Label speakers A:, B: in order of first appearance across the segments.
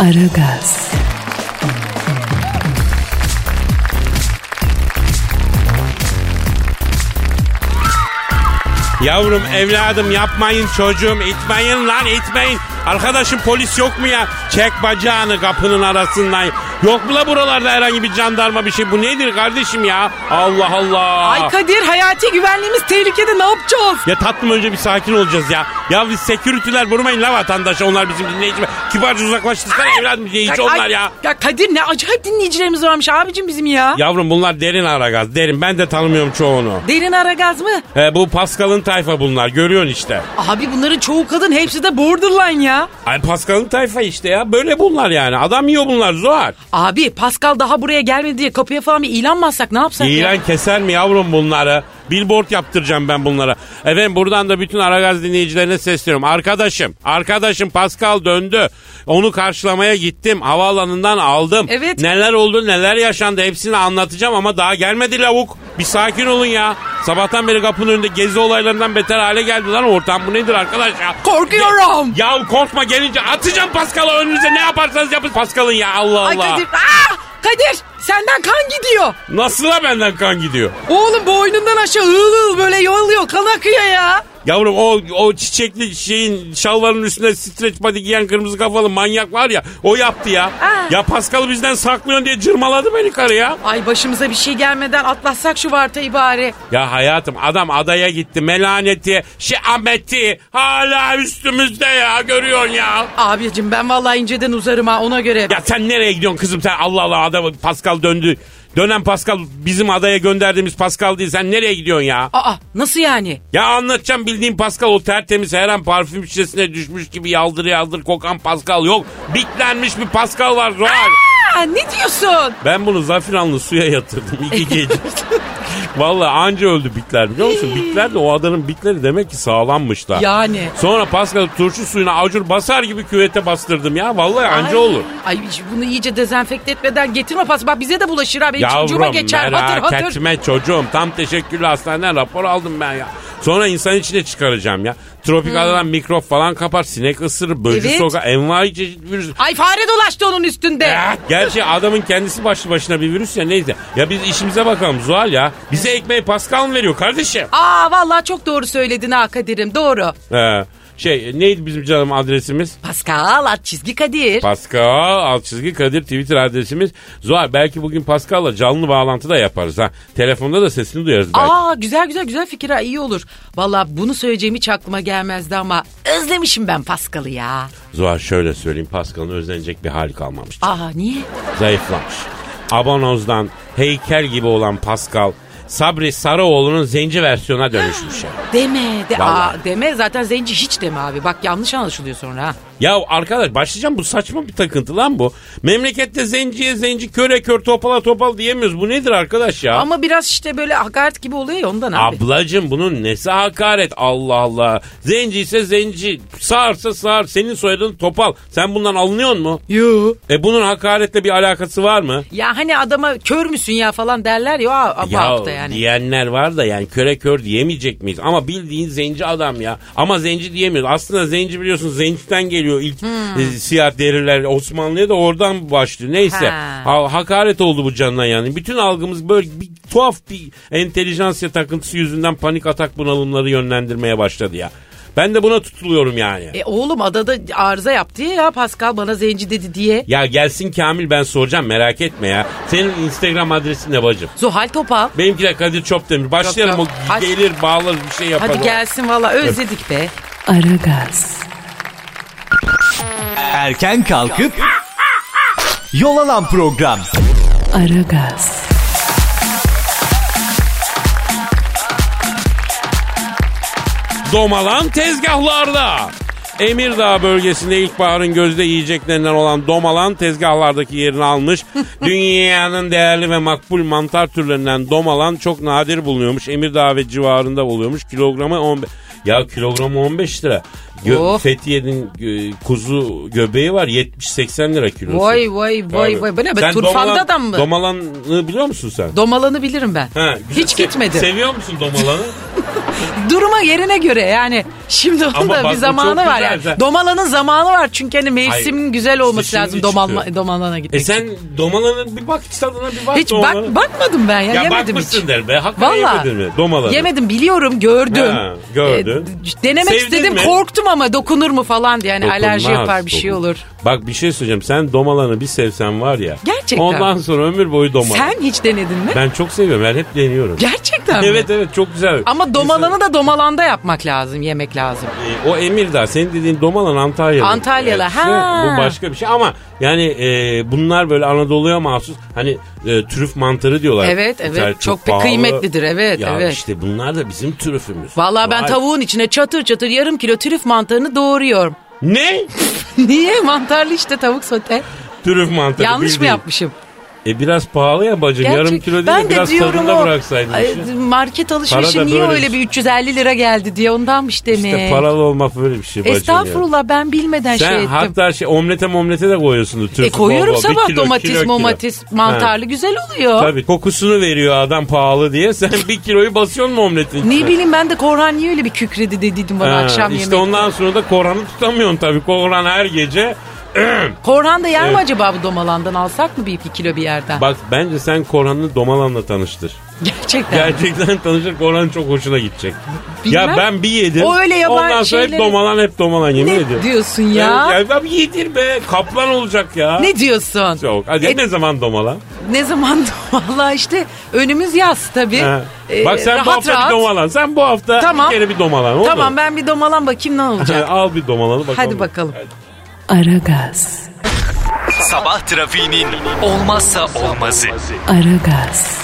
A: Aragaz,
B: Yavrum evladım yapmayın çocuğum itmeyin lan itmeyin. Arkadaşım polis yok mu ya? Çek bacağını kapının arasından. Yok mu la buralarda herhangi bir jandarma bir şey? Bu nedir kardeşim ya? Allah Allah.
C: Ay Kadir hayati güvenliğimiz tehlikede ne yapacağız?
B: ya tatlım önce bir sakin olacağız ya. Ya biz security'ler vurmayın la vatandaşa. Onlar bizim dinleyicimiz. Kibarca uzaklaştırsana evladım diye hiç onlar
C: Ay,
B: ya.
C: Ya Kadir ne acayip dinleyicilerimiz varmış abicim bizim ya.
B: Yavrum bunlar derin aragaz derin. Ben de tanımıyorum çoğunu.
C: Derin Aragaz mı?
B: He, bu Pascal'ın tayfa bunlar görüyorsun işte.
C: Abi bunların çoğu kadın hepsi de borderline ya.
B: Ay Pascal'ın tayfa işte ya. Böyle bunlar yani. Adam yiyor bunlar Zuhal.
C: Abi Pascal daha buraya gelmedi diye kapıya falan bir ilan mı atsak ne yapsak ya?
B: İlan keser mi yavrum bunları? Billboard yaptıracağım ben bunlara. Efendim buradan da bütün Aragaz dinleyicilerine sesleniyorum. Arkadaşım, arkadaşım Pascal döndü. Onu karşılamaya gittim. Havaalanından aldım.
C: Evet.
B: Neler oldu, neler yaşandı hepsini anlatacağım ama daha gelmedi lavuk. Bir sakin olun ya. Sabahtan beri kapının önünde gezi olaylarından beter hale geldi lan ortam. Bu nedir arkadaş ya?
C: Korkuyorum.
B: Ya korkma gelince atacağım Pascal'ı önünüze. Ne yaparsanız yapın Pascal'ın ya Allah Allah.
C: Ay Kadir. Aa! Kadir senden kan gidiyor.
B: Nasıl da benden kan gidiyor?
C: Oğlum boynundan aşağı ığıl ığıl böyle yolluyor kan akıyor ya.
B: Yavrum o o çiçekli şeyin şalvarın üstüne streç body giyen kırmızı kafalı manyak var ya o yaptı ya.
C: Aa.
B: Ya Paskal'ı bizden saklıyorsun diye cırmaladı beni karı ya.
C: Ay başımıza bir şey gelmeden atlatsak şu vartayı bari.
B: Ya hayatım adam adaya gitti melaneti, şiameti hala üstümüzde ya görüyorsun ya.
C: Abicim ben vallahi inceden uzarım ha ona göre.
B: Ya sen nereye gidiyorsun kızım sen Allah Allah adamı Paskal döndü. Dönen Paskal bizim adaya gönderdiğimiz Paskal değil sen nereye gidiyorsun ya?
C: Aa nasıl yani?
B: Ya anlatacağım bildiğin Pascal o tertemiz her an parfüm şişesine düşmüş gibi yaldır yaldır kokan Pascal yok. Bitlenmiş bir Pascal var Zuhal.
C: Aa, ne diyorsun?
B: Ben bunu zafiranlı suya yatırdım iki gece. Vallahi anca öldü bitler biliyor musun? Bitler de o adanın bitleri demek ki sağlammış da.
C: Yani.
B: Sonra Pascal turşu suyuna acur basar gibi küvete bastırdım ya. Vallahi anca
C: Ay,
B: olur.
C: Ay bunu iyice dezenfekte etmeden getirme pas. Bak bize de bulaşır abi. Çocuğuma
B: Yavrum
C: geçer.
B: merak
C: hatır hatır.
B: etme çocuğum. Tam teşekkürlü hastaneden rapor aldım ben ya. Sonra insan içine çıkaracağım ya. Tropik adadan mikrop falan kapar, sinek ısırır, böcü
C: Hmm. Evet.
B: sokar, envai çeşit virüs.
C: Ay fare dolaştı onun üstünde.
B: Eh, Gerçi adamın kendisi başlı başına bir virüs ya neyse. Ya biz işimize bakalım Zuhal ya. Bize ekmeği Pascal mı veriyor kardeşim?
C: Aa vallahi çok doğru söyledin ha Kadir'im doğru.
B: Ee, şey neydi bizim canım adresimiz?
C: Pascal at çizgi Kadir.
B: Pascal alt çizgi Kadir Twitter adresimiz. Zuhal belki bugün Pascal'la canlı bağlantı da yaparız ha. Telefonda da sesini duyarız belki.
C: Aa güzel güzel güzel fikir ha iyi olur. Vallahi bunu söyleyeceğim hiç aklıma gelmezdi ama özlemişim ben Pascal'ı ya.
B: Zuhal şöyle söyleyeyim Pascal'ın özlenecek bir hali kalmamıştı.
C: Aa niye?
B: Zayıflamış. Abanoz'dan heykel gibi olan Pascal Sabri Sarıoğlu'nun zenci versiyona dönüşmüş. ya.
C: Deme de,
B: Vallahi.
C: aa, deme zaten zenci hiç deme abi. Bak yanlış anlaşılıyor sonra ha.
B: Ya arkadaş başlayacağım bu saçma bir takıntı lan bu. Memlekette zenciye zenci köre kör topala topal diyemiyoruz. Bu nedir arkadaş ya?
C: Ama biraz işte böyle hakaret gibi oluyor ya ondan abi.
B: Ablacım bunun nesi hakaret Allah Allah. Zenci ise zenci, sağırsa sağır, senin soyadın topal. Sen bundan alınıyor mu?
C: Yo.
B: E bunun hakaretle bir alakası var mı?
C: Ya hani adama kör müsün ya falan derler ya a- a- bu
B: Ya
C: hafta yani.
B: diyenler var da yani köre kör diyemeyecek miyiz? Ama bildiğin zenci adam ya. Ama zenci diyemiyoruz. Aslında zenci biliyorsun zenciden geliyor ilk
C: Hmm.
B: e, siyah deriler Osmanlı'ya da oradan başlıyor. Neyse
C: Ha.
B: ha, hakaret oldu bu canına yani. Bütün algımız böyle bir tuhaf bir entelijansiya takıntısı yüzünden panik atak bunalımları yönlendirmeye başladı ya. Ben de buna tutuluyorum yani.
C: E oğlum adada arıza yaptı ya, ya Pascal bana zenci dedi diye.
B: Ya gelsin Kamil ben soracağım merak etme ya. Senin Instagram adresin ne bacım?
C: Zuhal Topal.
B: Benimki de Kadir Çopdemir. Başlayalım
C: Yok,
B: o
C: yok.
B: gelir bağlarız bir şey yapar.
C: Hadi gelsin valla özledik be.
A: Aragaz,
D: Erken kalkıp yol alan program.
A: Aragaz,
B: Domalan tezgahlarda. Emirdağ bölgesinde ilkbaharın gözde yiyeceklerinden olan domalan tezgahlardaki yerini almış. Dünyanın değerli ve makbul mantar türlerinden domalan çok nadir bulunuyormuş. Emirdağ ve civarında oluyormuş. Kilogramı 15. Ya kilogramı 15 lira. Gö-
C: Of.
B: Fethiye'nin gö- kuzu göbeği var 70-80 lira kilosu.
C: Vay vay vay
B: Abi.
C: vay. Bu ne be
B: Sen
C: turfanda
B: domalan-
C: adam mı?
B: Domalanı biliyor musun sen?
C: Domalanı bilirim ben.
B: Ha, güzel.
C: Hiç
B: Se-
C: gitmedim.
B: Seviyor musun domalanı?
C: Duruma yerine göre yani. Şimdi onun
B: Ama
C: da
B: bak
C: bir
B: bu
C: zamanı
B: çok
C: var
B: güzel
C: yani.
B: zaten.
C: Domalanın zamanı var çünkü hani mevsimin
B: Hayır.
C: güzel olması
B: İşte
C: lazım
B: şimdi
C: domalma,
B: çıkıyor.
C: domalana
B: e
C: gitmek.
B: sen domalanı bir bak tadına bir bak
C: hiç
B: domalanı.
C: bak, bakmadım ben ya,
B: Ya
C: yemedim hiç.
B: bakmışsın der be. Hakikaten
C: Valla.
B: yemedin mi? Domalanı.
C: Yemedim biliyorum gördüm.
B: Ha, gördün.
C: E, denemek
B: Sevdin
C: istedim
B: mi?
C: korktum ama dokunur mu falan diye. Yani
B: Dokunmaz,
C: alerji yapar bir
B: dokun-
C: şey olur.
B: Bak bir şey söyleyeceğim. Sen domalanı bir sevsen var ya.
C: Gerçekten.
B: Ondan sonra ömür boyu domalan.
C: Sen hiç denedin mi?
B: Ben çok seviyorum. Ben hep deniyorum.
C: Gerçekten mi?
B: Evet evet çok güzel.
C: Ama domalanı da domalanda yapmak lazım, yemek lazım.
B: Ee, o Emirdağ senin dediğin Domalan Antalyalı.
C: Antalyalı,
B: Evet,
C: ha.
B: Bu başka bir şey ama yani e, bunlar böyle Anadolu'ya mahsus hani e, trüf mantarı diyorlar.
C: Evet, evet.
B: İnternet
C: Çok bir kıymetlidir, evet,
B: ya
C: evet.
B: işte bunlar da bizim trüfümüz.
C: Vallahi ben
B: Vay.
C: tavuğun içine çatır çatır yarım kilo trüf mantarını doğruyorum.
B: Ne?
C: Niye? Mantarlı işte tavuk sote.
B: trüf mantarı.
C: Yanlış mı
B: bildiğin.
C: yapmışım?
B: E biraz pahalı ya bacım.
C: Gerçek-
B: Yarım kilo değil de biraz tadında bıraksaydın.
C: ay,
B: işi.
C: market alışverişi
B: Para da
C: niye
B: böyle
C: öyle
B: bir- şey.
C: bir 350 lira geldi diye ondanmış demek.
B: İşte paralı olmak böyle bir şey bacım ya.
C: Estağfurullah ben bilmeden
B: Sen
C: şey ettim.
B: hatta şey omlete momlete de koyuyorsun. Trüf,
C: E koyuyorum
B: bol bol. Bir
C: sabah
B: kilo,
C: domates
B: kilo, kilo.
C: momatis
B: Ha.
C: mantarlı güzel oluyor.
B: Tabii kokusunu veriyor adam pahalı diye. Sen bir kiloyu basıyorsun mu omletin içine?
C: Ne bileyim ben de Korhan niye öyle bir kükredi dediydim bana
B: Ha,
C: akşam
B: işte
C: yemeği.
B: ondan sonra da Koran'ı tutamıyorsun tabii. Koran her gece.
C: Korhan da yer mi acaba bu domalandan alsak mı bir iki kilo bir yerden?
B: Bak bence sen Koran'ı Domalan'la tanıştır.
C: Gerçekten.
B: Gerçekten tanışır Koran çok hoşuna gidecek.
C: Bilmem.
B: Ya ben bir yedim.
C: O öyle yaban
B: Ondan sonra hep
C: şeyleri-
B: Domalan hep Domalan yemin
C: ne
B: ediyorum.
C: diyorsun ya?
B: Evet, ya ben yedir be. Kaplan olacak ya.
C: Ne diyorsun?
B: Yok. Hadi
C: E,
B: ne zaman Domalan?
C: Ne zaman valla işte önümüz yaz tabii.
B: Ha.
C: Ee,
B: Bak sen bu
C: rahat
B: hafta
C: rahat.
B: bir Domalan. Sen bu hafta
C: Tamam.
B: bir kere bir Domalan. Oldu
C: Tamam
B: mu?
C: ben bir domalan bakayım ne olacak.
B: Al bir Domalan'ı bakalım.
C: Hadi bakalım.
A: Aragaz,
D: Sabah trafiğinin olmazsa olmazı.
A: Aragaz,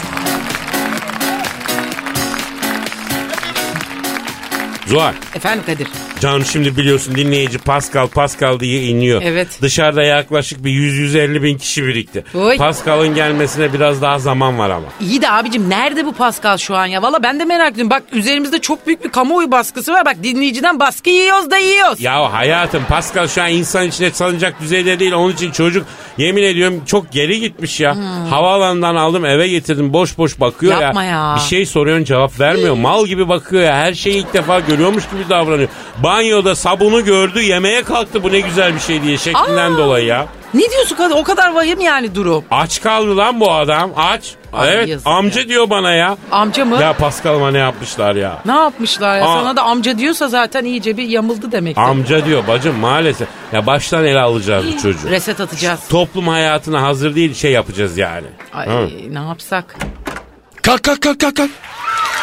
B: Zuhal.
C: Efendim Kadir.
B: Can şimdi biliyorsun dinleyici Pascal Pascal diye iniyor.
C: Evet.
B: Dışarıda yaklaşık bir 100-150 bin kişi birikti.
C: Oy.
B: Pascal'ın gelmesine biraz daha zaman var ama.
C: İyi de abicim nerede bu Pascal şu an ya? Valla ben de merak ediyorum. Bak üzerimizde çok büyük bir kamuoyu baskısı var. Bak dinleyiciden baskı yiyoruz da yiyoruz.
B: Ya hayatım Pascal şu an insan içine salınacak düzeyde değil. Onun için çocuk yemin ediyorum çok geri gitmiş ya. Havaalanından aldım eve getirdim boş boş bakıyor
C: Hmm. Yapma ya.
B: Bir şey soruyorsun cevap vermiyor. Mal gibi bakıyor ya her şeyi ilk defa görüyormuş gibi davranıyor. Banyoda sabunu gördü yemeğe kalktı bu ne güzel bir şey diye şeklinden
C: Aa.
B: dolayı ya.
C: Ne diyorsun Kadir? O kadar vahim yani durum.
B: Aç kaldı lan bu adam aç.
C: Ay
B: evet
C: yazık
B: amca diyor bana ya.
C: Amca mı?
B: Ya Pascal'ıma ne yapmışlar ya.
C: Ne yapmışlar ya?
B: Aa.
C: Sana da amca diyorsa zaten iyice bir yamıldı demek.
B: Amca diyor bacım maalesef. Ya baştan ele alacağız bu çocuğu.
C: Reset atacağız.
B: Toplum hayatına hazır değil şey yapacağız yani.
C: Ay
B: Ha.
C: ne yapsak?
E: Kalk kalk kalk kalk kalk.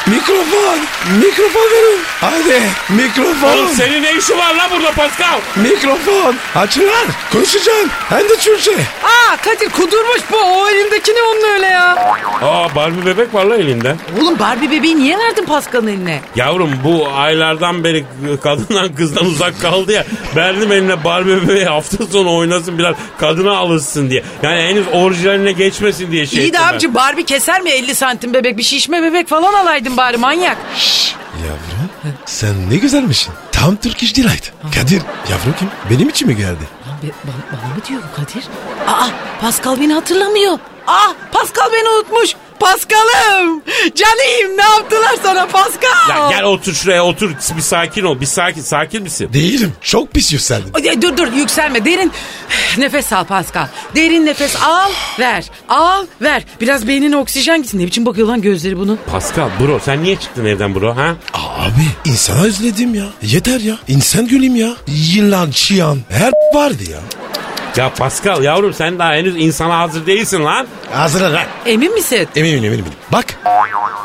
E: Mikrofon. Mikrofon verin. Hadi mikrofon.
B: Oğlum senin ne işin var lan burada Pascal?
E: Mikrofon. Açılar. Konuşacağım. Hem de Türkçe.
C: Aa Kadir kudurmuş bu. O elindeki ne onun öyle ya?
B: Aa Barbie bebek var lan elinde.
C: Oğlum Barbie bebeği niye verdin Pascal'ın eline?
B: Yavrum bu aylardan beri kadından kızdan uzak kaldı ya. Verdim eline Barbie bebeği hafta sonu oynasın biraz kadına alışsın diye. Yani henüz orijinaline geçmesin diye şey
C: İyi de
B: ettim ben.
C: abici Barbie keser mi 50 santim bebek? Bir şişme bebek falan alaydın bari manyak. Şşş.
E: Yavrum sen ne güzelmişsin. Tam Türk iş Kadir yavrum kim? Benim için mi geldi?
C: Lan be- bana, bana mı diyor bu Kadir? Aa Pascal beni hatırlamıyor. Aa Pascal beni unutmuş. Pascal'ım. Canım ne yaptılar sana Pascal?
B: Ya gel otur şuraya otur bir sakin ol bir sakin sakin misin?
E: Değilim. Çok pis yükseldim.
C: Ay, Dur dur yükselme derin nefes al Pascal. Derin nefes al ver al ver. Biraz beynine oksijen gitsin. Ne biçim bakıyor lan gözleri bunu.
B: Pascal bro sen niye çıktın evden bro ha?
E: Abi insana özledim ya. Yeter ya. İnsan gülüm ya. Yılan, çiyan. Her vardı ya.
B: Ya Pascal yavrum sen daha henüz insana hazır değilsin lan.
E: Hazır lan.
C: Emin misin?
E: Eminim eminim. eminim. Bak.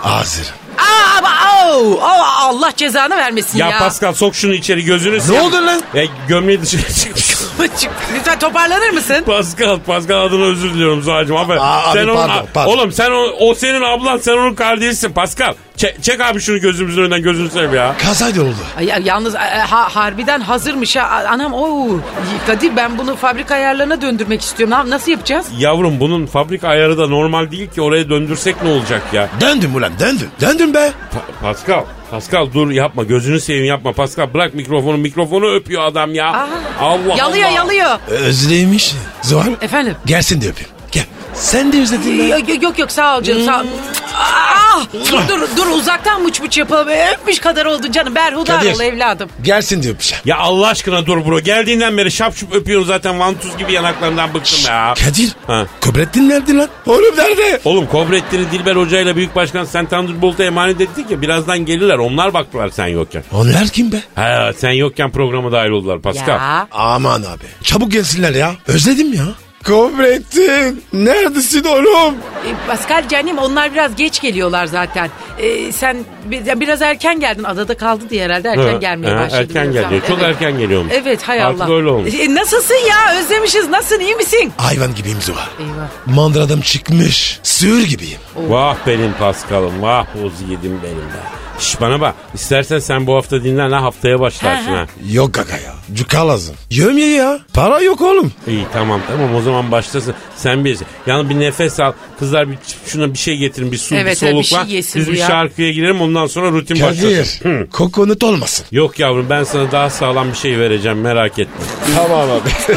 E: Hazır.
C: Aa, aa, au, au, Allah cezanı vermesin ya.
B: Ya, Pascal sok şunu içeri gözünü
E: Ne
B: seveyim.
E: oldu lan?
B: Ya E, gömleği dışarı çıkmış.
C: Çık, Lütfen toparlanır mısın?
B: Pascal, Pascal adına özür diliyorum Zuhal'cığım. Abi,
E: Aa, abi,
B: sen onun,
E: pardon, pardon.
B: Oğlum sen o, o senin ablan, sen onun kardeşisin Pascal. Çek, çek abi şunu gözümüzün önünden gözünü seveyim ya.
E: Kazaydı oldu.
C: Ay, ya- yalnız e, ha, harbiden hazırmış ha. A- Anam o Kadir ben bunu fabrika ayarlarına döndürmek istiyorum. Na- Nasıl yapacağız?
B: Yavrum bunun fabrika ayarı da normal değil ki oraya döndürsek ne olacak ya?
E: Döndüm ulan döndüm. Döndüm be.
B: Pa- Pascal, Pascal dur yapma gözünü seveyim yapma Pascal bırak mikrofonu mikrofonu öpüyor adam ya.
C: Aha.
B: Allah
C: yalıyor
B: Allah.
C: yalıyor.
E: Özlemiş. Ee, Zuhal.
C: Efendim?
E: Gelsin de öpeyim. Gel. Sen de özledin be.
C: Yok yok yok, yok sağ ol canım sağ ol. Ah, dur dur uzaktan mıç mıç yapalım. Öpmüş kadar oldun canım. Berhudar
E: Kadir.
C: ol evladım.
E: Gelsin de öpeceğim.
B: Ya Allah aşkına dur bro geldiğinden beri şap şup öpüyorsun zaten vantuz gibi yanaklarından bıktım ya.
E: Kadir.
B: Ha.
E: Kobrettin nerede lan? Oğlum nerede?
B: Oğlum Kobrettin'i Dilber Hoca ile Büyük Başkan Sentandır Bolt'a emanet ettik ya birazdan gelirler onlar baktılar sen yokken.
E: Onlar kim be?
B: Ha sen yokken programa dahil oldular Pascal.
C: Ya.
E: Aman abi. Çabuk gelsinler ya. Özledim ya. Kobrettin. Neredesin oğlum?
C: E, Pascal canım onlar biraz geç geliyorlar zaten. E, sen bi- ya biraz erken geldin. Adada kaldı diye herhalde erken
B: Ha,
C: gelmeye
B: ha,
C: başladı.
B: Erken
C: biraz.
B: geliyor.
C: Ha,
B: Çok
C: evet.
B: erken geliyormuş.
C: Evet hay
B: Artık
C: Allah.
B: öyle olmuş.
C: E, nasılsın ya? Özlemişiz. Nasılsın? iyi misin?
E: Hayvan gibiyim Zuhal.
C: Eyvah.
E: Mandıradım çıkmış. Sığır gibiyim.
B: Vah benim Pascal'ım vah boz yedim benim be. Şş bana bak istersen sen bu hafta dinlen ha haftaya başlarsın
C: Ha,
B: ha.
E: Yok kaka ya. Cuka lazım. Yömye ya. Para yok oğlum.
B: İyi tamam tamam o zaman başlasın. Sen bir yani bir nefes al. Kızlar bir şuna bir şey getirin bir su bir
C: Evet, evet, bir
B: solukla.
C: şey yesin
B: Biz
C: bu
B: bir
C: ya.
B: şarkıya girelim ondan sonra rutin
E: Kadir.
B: başlasın. Hı.
E: Kokonut olmasın.
B: Yok yavrum ben sana daha sağlam bir şey vereceğim merak etme.
E: Tamam abi.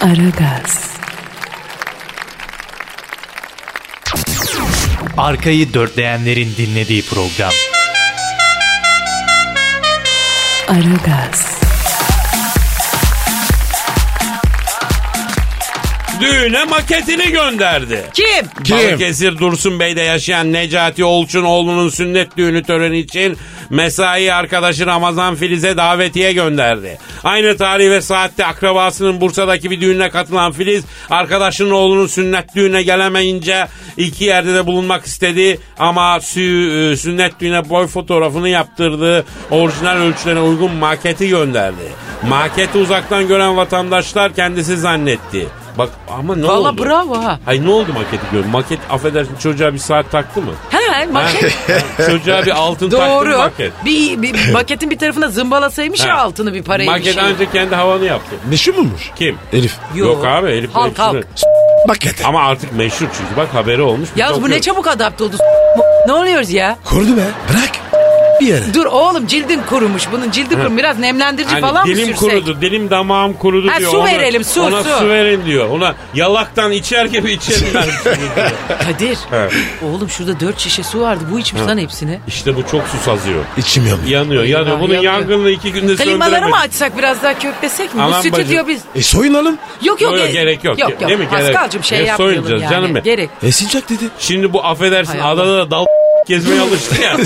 A: Aragaz,
F: Arkayı dörtleyenlerin dinlediği program.
A: Aragaz,
B: Düğüne maketini gönderdi.
C: Kim?
B: Balıkesir Dursun Bey'de yaşayan Necati Olçunoğlu'nun sünnet düğünü töreni için mesai arkadaşı Ramazan Filiz'e davetiye gönderdi. Aynı tarih ve saatte akrabasının Bursa'daki bir düğüne katılan Filiz arkadaşının oğlunun sünnet düğüne gelemeyince iki yerde de bulunmak istedi ama sü- e, sünnet düğüne boy fotoğrafını yaptırdığı orijinal ölçülerine uygun maketi gönderdi. Maketi uzaktan gören vatandaşlar kendisi zannetti. Bak ama ne
C: Valla
B: oldu?
C: bravo ha.
B: Ay ne oldu maketi görüyorum? Maket affedersin çocuğa bir saat taktı mı?
C: He, maket.
B: çocuğa bir altın taktı mı
C: Doğru.
B: maket?
C: Bir, bir maketin bir tarafına zımbalasaymış
B: Ha.
C: ya altını bir parayı. bir
B: Maket
C: şey.
B: ancak kendi havanı yaptı.
E: Meşhur muymuş?
B: Kim?
E: Elif.
C: Yok.
B: Yok abi Elif
C: Halk,
B: meşhur.
C: halk.
E: Bak yeter.
B: Ama artık meşhur çünkü bak haberi olmuş. Biz
C: Yalnız bu ne
B: okuyoruz.
C: çabuk adapte oldu. Ne oluyoruz ya?
E: Kurdu be. Bırak. Bir yere.
C: Dur oğlum cildin kurumuş. Bunun cildi kurumuş. Biraz nemlendirici
B: Hani
C: falan mı
B: dilim
C: sürsek?
B: kurudu, dilim damağım kurudu
C: Ha,
B: diyor.
C: su
B: Ona-
C: verelim, su,
B: Ona
C: su.
B: su verin diyor. Ona yalaktan içer gibi içerim ben seni diyor.
C: Kadir.
B: Evet.
C: Oğlum şurada dört şişe su vardı. Bu içmiş lan hepsini.
B: İşte bu çok su sazıyor.
E: İçmiyorum.
B: Yanıyor,
C: Eyvah,
B: yanıyor. Bunun
C: yanıyor.
B: yangınını iki günde
C: Klimaları
B: söndüremedik.
C: mı açsak biraz daha köklesek mi?
B: Aman
C: Bu stüdyo
B: bacım.
C: biz.
E: E soyunalım.
C: Yok yok.
B: Yok, yok,
C: e-
B: gerek yok.
C: Yok yok.
B: Değil mi? Gerek-
C: Paskal'cığım şey
B: Ne
C: yapmayalım
B: soyunacağız
C: yani.
B: canım benim?
C: Gerek.
E: E sincak dedi.
B: Şimdi bu affedersin
C: Hay Allah.
B: adada da dal gezmeye alıştı ya.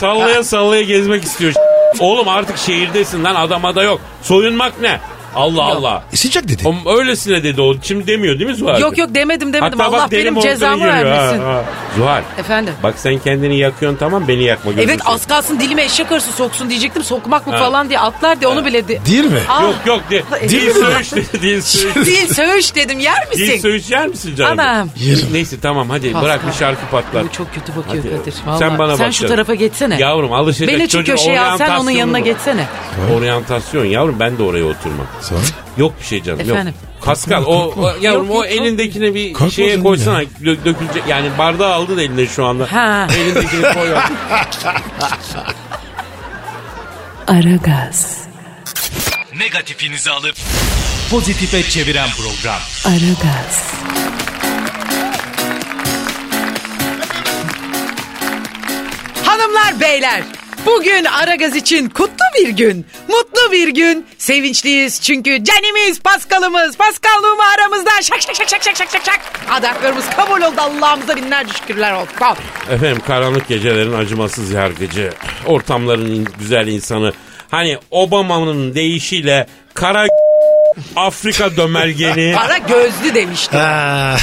B: sallaya sallaya gezmek istiyor. Oğlum artık şehirdesin lan adamada yok. Soyunmak ne? Allah Allah.
E: E sincak dedi.
B: O, öylesine dedi o. Şimdi demiyor değil mi Zuhal?
C: Yok yok demedim demedim.
B: Hatta
C: Allah
B: bak delim
C: benim
B: olduğunu
C: cezamı
B: görüyor, ha,
C: vermesin.
B: ha. Zuhal.
C: Efendim.
B: Bak sen kendini yakıyorsun tamam beni yakma gözünü
C: Evet
B: seveyim.
C: az kalsın dilime eşek arısı soksun diyecektim. Sokmak mı
B: Ha.
C: falan diye atlar diye onu bile... De...
E: Değil mi?
C: Aa,
B: Yok yok de,
C: Allah,
B: dil
C: elim-
B: söğüş dedi, dil söğüş.
C: Dil söğüş dedim yer
B: Dil
C: misin?
B: söğüş yer misin canım?
C: Anam.
E: Yerim.
B: Neyse tamam hadi
C: Pascal.
B: bırak bir şarkı patlar.
C: Bu çok kötü bakıyor
B: Hadi.
C: Kadir.
B: Sen
C: Vallahi.
B: bana bak
C: Sen şu
B: canım.
C: tarafa geçsene.
B: Yavrum alışacak
C: Beni şu
B: çocuğun
C: köşeye al sen onun
B: oryantasyonu
C: yanına
B: bu.
C: geçsene.
B: Oryantasyon yavrum ben de oraya oturmam.
E: Sonra?
B: Yok bir şey canım
C: Efendim?
B: yok. Kaskal o, o- yavrum
C: Yok,
B: o
C: yok, yok.
B: elindekini bir
E: Kalkma
B: şeye
E: canım
B: koysana dö- dökülecek. Yani bardağı aldı da eline şu anda.
C: Ha.
B: Elindekini koy.
A: Aragaz,
D: Negatifinizi alıp
F: Pozitife çeviren program.
A: Aragaz,
C: Hanımlar beyler bugün Aragaz için kutlu bir gün. Mutlu bir gün. Sevinçliyiz çünkü canimiz Paskal'ımız. Paskal Numa aramızda. Şak şak şak şak şak şak şak şak. Adaklarımız kabul oldu. Allah'ımıza binlerce şükürler olsun.
B: Efendim karanlık gecelerin acımasız yargıcı, ortamların in- güzel insanı. Hani Obama'nın deyişiyle kara Afrika dömergeni,
C: Kara gözlü demişti.
E: Ha.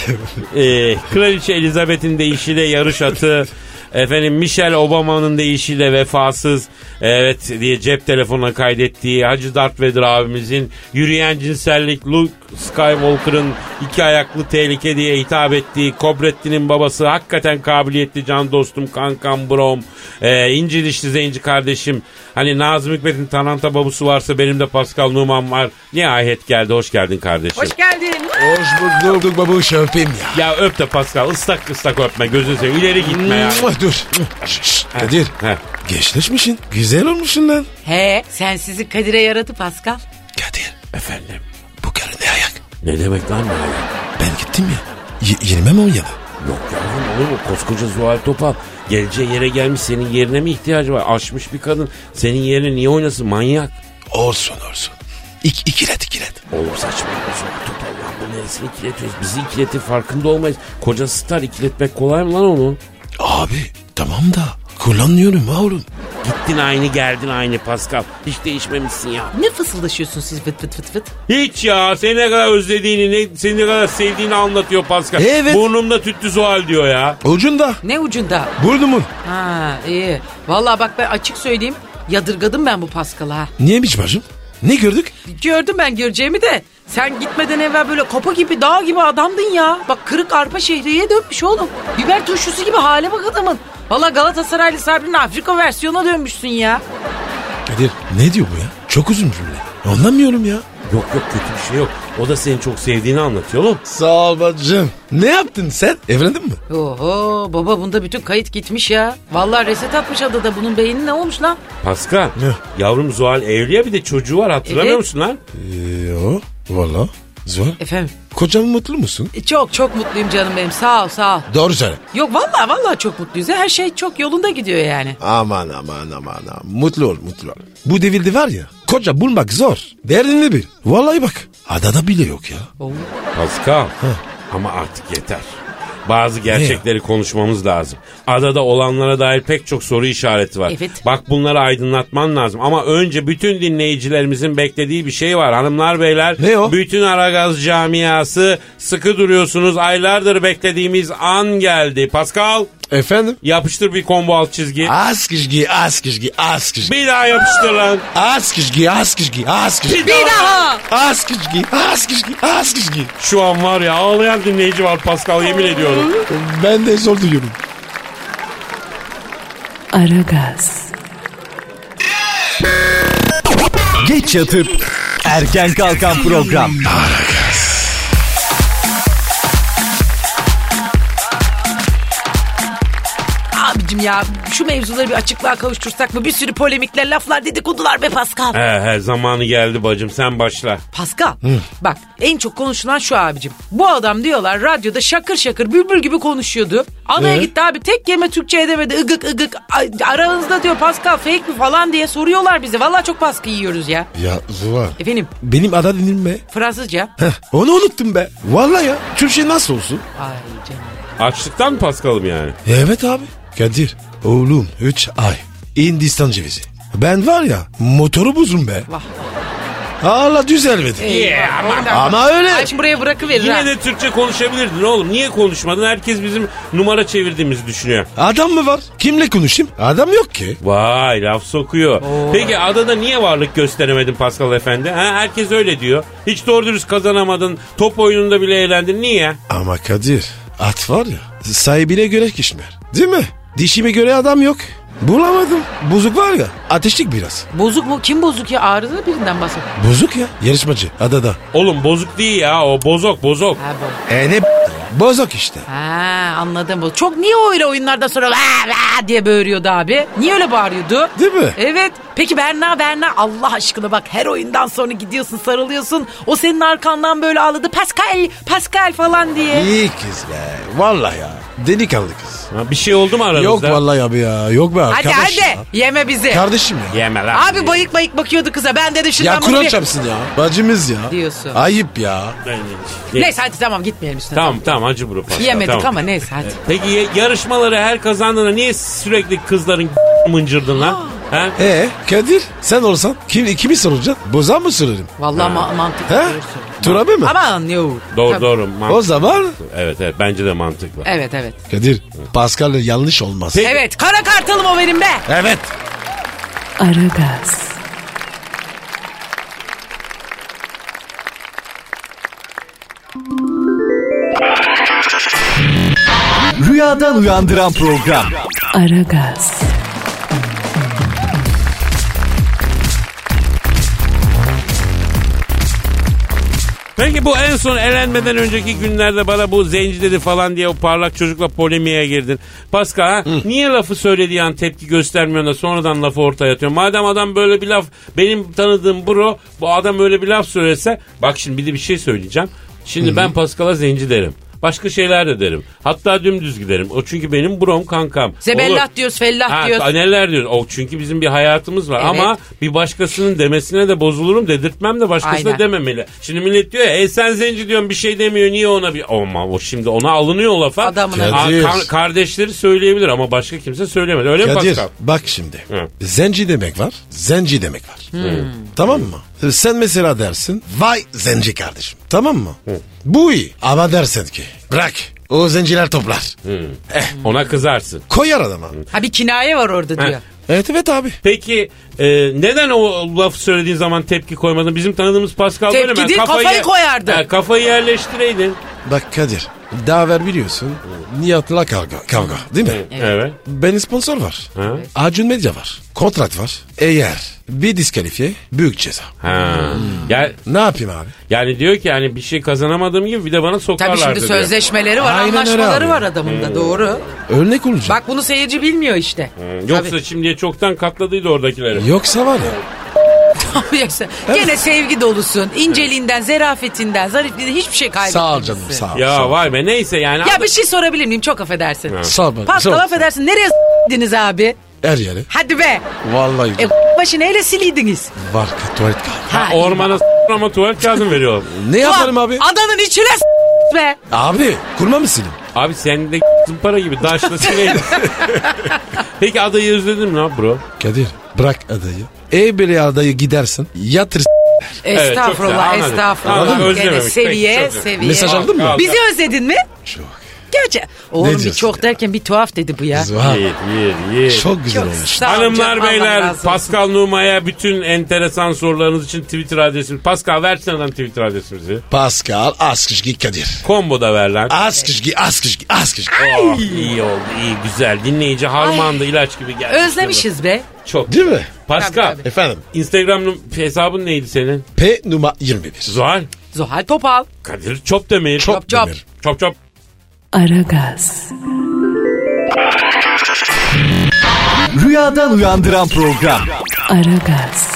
B: e, Kraliçe Elizabeth'in deyişiyle yarış atı, efendim Michelle Obama'nın deyişiyle vefasız, evet diye cep telefonuna kaydettiği Hacı Darth Vader abimizin yürüyen cinsellik Luke Skywalker'ın iki ayaklı tehlike diye hitap ettiği Kobrettin'in babası hakikaten kabiliyetli can dostum kankam brom e, inci dişli zenci kardeşim hani Nazım Hikmet'in Tananta babusu varsa benim de Pascal Numan var nihayet geldi hoş geldin kardeşim.
C: Hoş geldin.
E: Hoş bulduk babuş öpeyim ya.
B: Ya öp de Pascal ıslak ıslak öpme gözünü seveyim ileri gitme ya.
E: Mua, Dur. Şş, şş, Kadir.
B: Heh.
E: Gençleşmişsin. Güzel olmuşsun lan.
C: He sen sizi Kadir'e yaradı Pascal.
E: Kadir.
B: Efendim
E: Bu karı ne ayak?
B: ne demek lan böyle?
E: Ben gittim ya. Y- yenime mi oynadı?
B: Yok yavrum olur mu? Koskoca Zuhal Topal geleceği yere gelmiş senin yerine mi ihtiyacı var? Aşmış bir kadın senin yerine niye oynasın manyak?
E: Olsun olsun. İk, ikilet ikilet.
B: Oğlum saçmalama Zuhal Topal lan bu neresini ikiletiyoruz? Bizi ikiletin farkında olmayız. Koca star ikiletmek kolay mı lan onu?
E: Abi tamam da kullanıyorum yavrum.
B: Gittin aynı geldin aynı Pascal. Hiç değişmemişsin ya.
C: Ne fısıldaşıyorsun siz fıt fıt fıt fıt?
B: Hiç ya seni ne kadar özlediğini ne, seni ne kadar sevdiğini anlatıyor Pascal.
E: Evet.
B: Burnumda tüttü Zuhal diyor ya.
E: Ucunda.
C: Ne ucunda?
E: Burnumun.
C: Ha iyi. Vallahi bak ben açık söyleyeyim. Yadırgadım ben bu Pascal'ı ha.
E: Niye biç bacım? Ne gördük?
C: Gördüm ben göreceğimi de. Sen gitmeden evvel böyle kopa gibi dağ gibi adamdın ya. Bak kırık arpa şehriyeye dönmüş oğlum. Biber turşusu gibi hale bak adamın. Valla Galatasaraylı Sabri'nin Afrika versiyonuna dönmüşsün ya.
E: Kadir ne diyor bu ya? Çok uzun cümle. Anlamıyorum ya.
B: Yok yok kötü bir şey yok. O da seni çok sevdiğini anlatıyor oğlum.
E: Sağ ol bacım. Ne yaptın sen? Evlendin mi?
C: Oho baba bunda bütün kayıt gitmiş ya. Vallahi reset atmış adada bunun beyni ne olmuş lan?
B: Pascal.
E: Ne?
B: Yavrum Zuhal evliya bir de çocuğu var hatırlamıyor
C: Evet.
B: musun lan?
E: Yo. Valla. Zor.
C: Efendim
E: Kocam mutlu musun?
C: e, çok çok mutluyum canım benim sağ ol sağ ol.
E: Doğru söyle.
C: Yok vallahi vallahi çok mutluyuz ya. her şey çok yolunda gidiyor yani.
E: Aman aman aman aman. Mutlu ol mutlu ol. Bu devirde var ya koca bulmak zor. Derdini bil. Vallahi bak. Adada bile yok ya.
C: Oo.
B: Pascal. Ama artık yeter. Bazı gerçekleri konuşmamız lazım. Adada olanlara dair pek çok soru işareti var.
C: Evet.
B: Bak bunları aydınlatman lazım. Ama önce bütün dinleyicilerimizin beklediği bir şey var hanımlar beyler.
E: Ne o?
B: Bütün Aragaz camiası sıkı duruyorsunuz. Aylardır beklediğimiz an geldi. Pascal
E: Efendim?
B: yapıştır bir combo alt çizgi.
E: Az kişgi, az kişgi, az kişgi.
B: Bir daha yapıştır lan.
E: Az kişgi, az kişgi, az kişgi.
C: Bir daha.
E: Az kişgi, az kişgi, az kişgi.
B: Şu an var ya ağlayan dinleyici var Pascal yemin ediyorum.
E: Ben de zor duyuyorum.
A: Aragaz,
F: Geç yatıp erken kalkan program.
C: Abicim ya şu mevzuları bir açıklığa kavuştursak mı? Bir sürü polemikler, laflar, dedikodular be Pascal.
B: He he zamanı geldi bacım sen başla.
C: Pascal bak en çok konuşulan şu abicim. Bu adam diyorlar radyoda şakır şakır bülbül gibi konuşuyordu. Anaya gitti abi tek kelime Türkçe edemedi ıgık ıgık. Ay, Aranızda diyor Pascal fake mi falan diye soruyorlar bize. Vallahi çok baskı yiyoruz ya.
E: Ya Zuhar.
C: Efendim
E: Benim ada dinilme.
C: Fransızca.
E: Onu unuttum be. Vallahi ya. Türkçe nasıl olsun?
C: Ay canım.
B: Açlıktan mı Pascal'ım yani?
E: Evet abi. Kadir. Oğlum 3 ay. Hindistan cevizi. Ben var ya motoru bozum be.
C: Vah.
E: Hala düzelmedi. Ama öyle.
C: Ay şimdi buraya bırakıverir ha.
B: Yine de Türkçe konuşabilirdin oğlum. Niye konuşmadın? Herkes bizim numara çevirdiğimizi düşünüyor.
E: Adam mı var? Kimle konuşayım? Adam yok ki.
B: Vay laf sokuyor. Peki adada niye varlık gösteremedin Pascal efendi? Ha, herkes öyle diyor. Hiç doğru dürüst kazanamadın. Top oyununda bile eğlendin. Niye?
E: Ama Kadir at var ya sahibine göre kişmer. Değil mi? Dişime göre adam yok. Bulamadım. Bozuk var ya ateşlik biraz.
C: Bozuk mu? Kim bozuk ya? Arıza birinden bahsediyor.
E: Bozuk ya yarışmacı adada.
B: Oğlum bozuk değil ya o bozok bozok.
C: Ha bu.
E: E ne b- Bozuk işte.
C: Ha anladım. bu. Çok niye öyle oyunlardan sonra "Vaa, vaa" diye bağırıyordu abi? Niye öyle bağırıyordu?
E: Değil mi?
C: Evet. Peki Berna Berna Allah aşkına bak her oyundan sonra gidiyorsun sarılıyorsun. O senin arkandan böyle ağladı. Pascal Pascal falan diye.
E: İyi kız be. Vallahi ya. Delikanlı kız.
B: Ha, bir şey oldu mu aranızda?
E: Yok vallahi abi ya. Yok be
C: Hadi
E: arkadaş.
C: hadi
E: ya.
C: yeme bizi.
E: Kardeşim ya.
B: Yeme lan.
C: Abi bayık bayık bakıyordu kıza. Ben dedim şimdi
E: Ya
C: ben bunu
E: Kur'an
C: bir-
E: çarpsın ya. Bacımız ya.
C: Diyorsun.
E: Ayıp ya.
B: Ne?
C: Neyse hadi tamam gitmeyelim üstüne.
B: Tamam tamam acı buru Pascal.
C: Yemedik
B: tamam.
C: ama neyse hadi.
B: Peki ye- yarışmaları her kazandığında niye sürekli kızların mıncırdın lan? Ha?
E: E Kadir sen olsan kim kimi soracaksın? Boza mı sorarım?
C: Vallahi ma- mantıklı
E: He?
C: diyorsun.
E: Turabi mi?
C: Aman yok.
B: Doğru
C: Tabii.
B: doğru. Mantıklı.
E: O zaman
B: Evet evet bence de mantıklı.
C: Evet evet.
E: Kadir Pascal yanlış olmaz.
B: Peki.
C: Evet kara kartalım o benim be.
E: Evet.
A: Aragaz,
F: Rüyadan uyandıran program.
A: Aragaz,
B: Peki bu en son elenmeden önceki günlerde bana bu zenci dedi falan diye o parlak çocukla polemiğe girdin. Pascal ha? niye lafı söylediği an tepki göstermiyorsun da sonradan lafı ortaya atıyorsun? Madem adam böyle bir laf benim tanıdığım bro bu adam öyle bir laf söylese bak şimdi bir de bir şey söyleyeceğim. Şimdi ben Pascal'a zenci derim. Başka şeyler de derim. Hatta dümdüz giderim. O çünkü benim brom kankam.
C: Zebellah
B: Olur.
C: diyoruz, fellah
B: Ha,
C: diyoruz.
B: Neler diyoruz. O çünkü bizim bir hayatımız var
C: Ah, Evet.
B: ama bir başkasının demesine de bozulurum dedirtmem de başkasına
C: Aynen.
B: demem dememeli. Şimdi millet diyor ya e sen zenci diyorsun bir şey demiyor niye ona bir... Ama o şimdi ona alınıyor o lafa.
C: Adamına.
B: Aa,
E: Kadir.
B: kar- kardeşleri söyleyebilir ama başka kimse söylemez. Öyle mi
E: Kadir
B: Pascal?
E: bak şimdi.
B: Hı.
E: Zenci demek var. Zenci demek var. Tamam mı? Sen mesela dersin. Vay zenci kardeşim. Tamam mı? Bu iyi. Ama dersen ki. Bırak. O zenciler toplar. Eh,
B: Ona kızarsın.
E: Koyar adama.
C: Ha bir kinaye var orada diyor.
E: Evet evet abi.
B: Peki e, neden o laf söylediğin zaman tepki koymadın? Bizim tanıdığımız Pascal
C: Tepki
B: böyle mi? Yani
C: değil, kafayı koyardı.
B: Ha, kafayı yerleştireydin.
E: Bak Kadir. Daha ver biliyorsun. Nihat'la kavga. Kavga değil mi?
B: Evet.
E: Ben sponsor var.
B: Ha.
E: Acun Medya var. Kontrat var. Eğer bir diskalifiye büyük ceza.
B: Ha.
C: Hmm.
B: Ya,
E: Ne yapayım abi?
B: yani diyor ki yani bir şey kazanamadığım gibi bir de bana sokarlar
C: Tabii şimdi sözleşmeleri var,
E: Aynen öyle
C: anlaşmaları
E: abi. Hmm.
C: var adamın da doğru.
E: Örnek olacak.
C: Bak bunu seyirci bilmiyor işte.
E: Hmm.
B: Yoksa şimdiye çoktan katladıydı oradakileri.
E: Yoksa var ya.
C: Yoksa Gene sevgi dolusun. İnceliğinden, zerafetinden, zarifliğinden hiçbir şey kaybetmemişsin.
E: Sağ ol canım sağ ol.
B: Ya vay be neyse yani.
C: Ya bir şey sorabilir miyim? Çok affedersin.
E: Sağ ol. bana, sağ
C: Pascal
E: ol.
C: affedersin. Nereye s***diniz abi?
E: Her yere.
C: Hadi be.
E: Vallahi
C: E başı neyle siliydiniz?
E: var ka- tuvalet kağıdı.
B: Ha,
C: şey
B: ormana s- ama tuvalet kağıdı veriyor.
E: Ne yaparım
C: Ulan
E: abi?
C: Adanın içine s- be.
E: Abi kurma mısın?
B: Abi sen de para gibi daşla sineydin. Peki adayı özledin mi lan bro?
E: Kadir bırak adayı. E bile adayı gidersin. Yatır.
B: Evet, çok
C: Estağfurullah,
B: güzel, anladım.
C: estağfurullah.
B: Anladım,
C: Gene
B: özlememiş.
C: seviye,
B: Peki, çok güzel.
C: seviye.
E: Mesaj aldın mı?
B: Al.
C: Bizi özledin mi?
E: Çok.
C: Gerçi. Oğlum bir
E: diyorsun
C: çok
E: ya?
C: derken bir tuhaf dedi bu ya.
E: Vah,
B: Yer yer yer.
E: Çok güzel
C: Çok
E: olmuş.
C: sağ ol canım,
B: Hanımlar
C: Allah razı
B: beyler
C: olsun.
B: Pascal Numa'ya bütün enteresan sorularınız için Twitter adresini. Pascal versene lan Twitter adresimizi.
E: Pascal Askışgi Kadir.
B: Combo da ver lan.
E: Askışgi Askışgi Askışgi.
B: Oh, iyi oldu iyi güzel dinleyici harmandı ilaç gibi geldi.
C: Özlemişiz be.
B: Çok.
E: Değil mi?
B: Pascal
C: Tabii,
E: Efendim
B: Instagram num- hesabın neydi senin?
E: P numara 21.
B: Zuhal
C: Zuhal Topal.
B: Kadir Çop demir.
E: Çok
C: Çop.
E: demir.
B: Çop çop.
A: Aragaz,
F: Rüyadan uyandıran program.
A: Aragaz,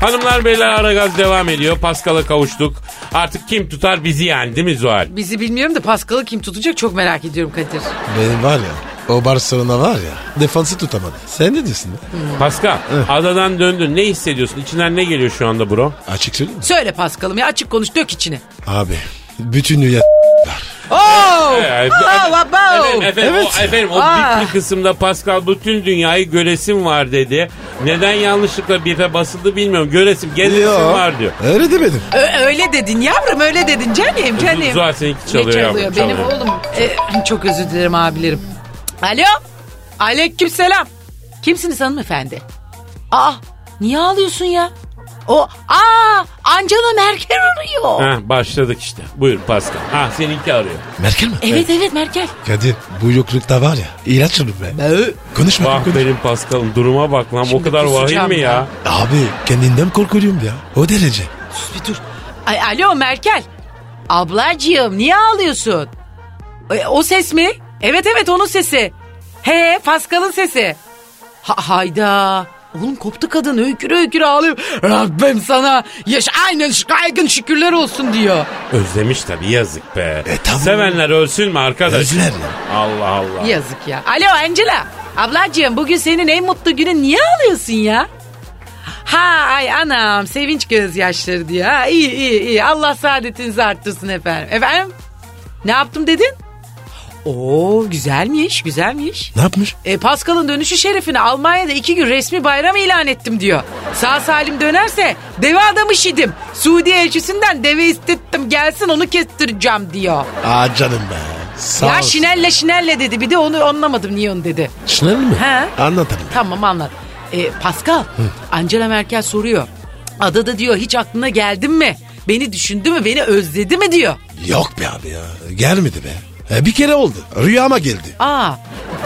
B: Hanımlar beyler Aragaz devam ediyor. Pascal'a kavuştuk. Artık kim tutar bizi yani değil mi Zuhal?
C: Bizi bilmiyorum da Pascal'ı kim tutacak çok merak ediyorum Kadir.
E: Benim var ya o Barcelona var ya defansı tutamadı. Sen ne diyorsun?
B: Pascal adadan döndün. Ne hissediyorsun? İçinden ne geliyor şu anda bro?
E: Açık söyleyeyim mi?
C: Söyle Pascal'ım ya açık konuş dök içine.
E: Abi bütün dünya
C: Oo!
B: Evet.
C: Aa,
B: Efendim,
C: baba!
B: efendim,
E: Evet.
B: o, efendim o
C: Oh. Ah.
B: bitli kısımda Pascal bütün dünyayı göresim var dedi. Neden yanlışlıkla bife basıldı bilmiyorum. Göresim, gezesim
E: Yo,
B: var diyor.
E: Öyle demedim.
C: Ö- öyle dedin yavrum öyle dedin canım canım.
B: Zuhal seninki
C: Ne
B: çalıyor yavrum,
C: çalıyor? Benim
B: çalıyor.
C: oğlum. E, çok özür dilerim abilerim. Alo. Aleyküm selam. Kimsiniz hanımefendi? Aa niye ağlıyorsun ya? O aa Angela Merkel arıyor.
B: Heh, başladık işte. Buyur Pascal. Ha seninki arıyor.
E: Merkel mi?
C: Evet evet Merkel.
E: Kadir bu yoklukta var ya ilaç olur be. Konuşma.
B: Bak
E: konuş.
B: benim Pascal'ım duruma bak lan. o
C: Şimdi
B: kadar vahim
C: kusacağım
B: mi ya?
C: ya.
E: Abi kendinden korkuyorum ya. O derece.
C: Sus bir dur. Ay, alo Merkel. Ablacığım niye ağlıyorsun? E, o ses mi? Evet evet onun sesi. He Pascal'ın sesi. Ha, hayda. Oğlum koptu kadın öyküre öyküre ağlıyor. Rabbim sana yaş aynen şikayetin şükürler olsun diyor.
B: Özlemiş tabii yazık be.
E: E, tabii.
B: Sevenler ölsün mü arkadaş?
E: Özler ya.
B: Allah Allah.
C: Yazık ya. Alo Angela. Ablacığım bugün senin en mutlu günün niye ağlıyorsun ya? Ha ay anam sevinç gözyaşları diyor. Ha, iyi iyi iyi Allah saadetinizi arttırsın efendim. Efendim ne yaptım dedin? Oo güzelmiş güzelmiş.
E: Ne yapmış?
C: E, Pascal'ın dönüşü şerefine Almanya'da iki gün resmi bayram ilan ettim diyor. Sağ salim dönerse deve adamı şidim. Suudi elçisinden deve istettim gelsin onu kestireceğim diyor.
E: Aa canım be. Sağ
C: ya
E: olsun.
C: şinelle şinelle dedi bir de onu anlamadım niye onu dedi.
E: Şinel mi?
C: He.
E: Anlatırım.
C: Tamam anlat. E, Pascal, Angela Merkel soruyor. Adada diyor hiç aklına geldin mi? Beni düşündü mü beni özledi mi diyor.
E: Yok be abi ya. Gelmedi be. E, bir kere oldu. Rüyama geldi.
C: Aa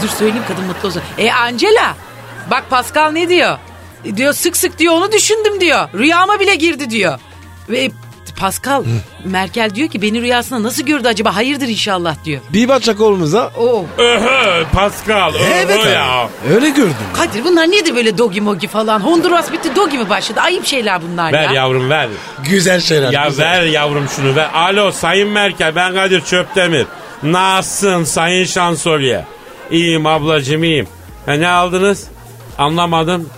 C: dur söyleyeyim kadın mutlu olsun. E Angela bak Pascal ne diyor? E, diyor sık sık diyor onu düşündüm diyor. Rüyama bile girdi diyor. Ve Pascal Merkel diyor ki beni rüyasında nasıl gördü acaba hayırdır inşallah diyor.
E: Bir bacak olmuza.
C: Oo.
B: Öhö Pascal. öhö
E: Evet abi.
B: ya.
E: Öyle gördüm.
C: Kadir bunlar niye de böyle dogi mogi falan? Honduras bitti dogi mi başladı? Ayıp şeyler bunlar
B: Ver
C: ya.
B: yavrum ver.
E: Güzel şeyler.
B: Ya
E: güzel.
B: ver yavrum şunu ver. Alo Sayın Merkel ben Kadir Çöptemir. Nasılsın Sayın Şansölye? İyiyim ablacım iyiyim. Ha, ne aldınız? Anlamadım.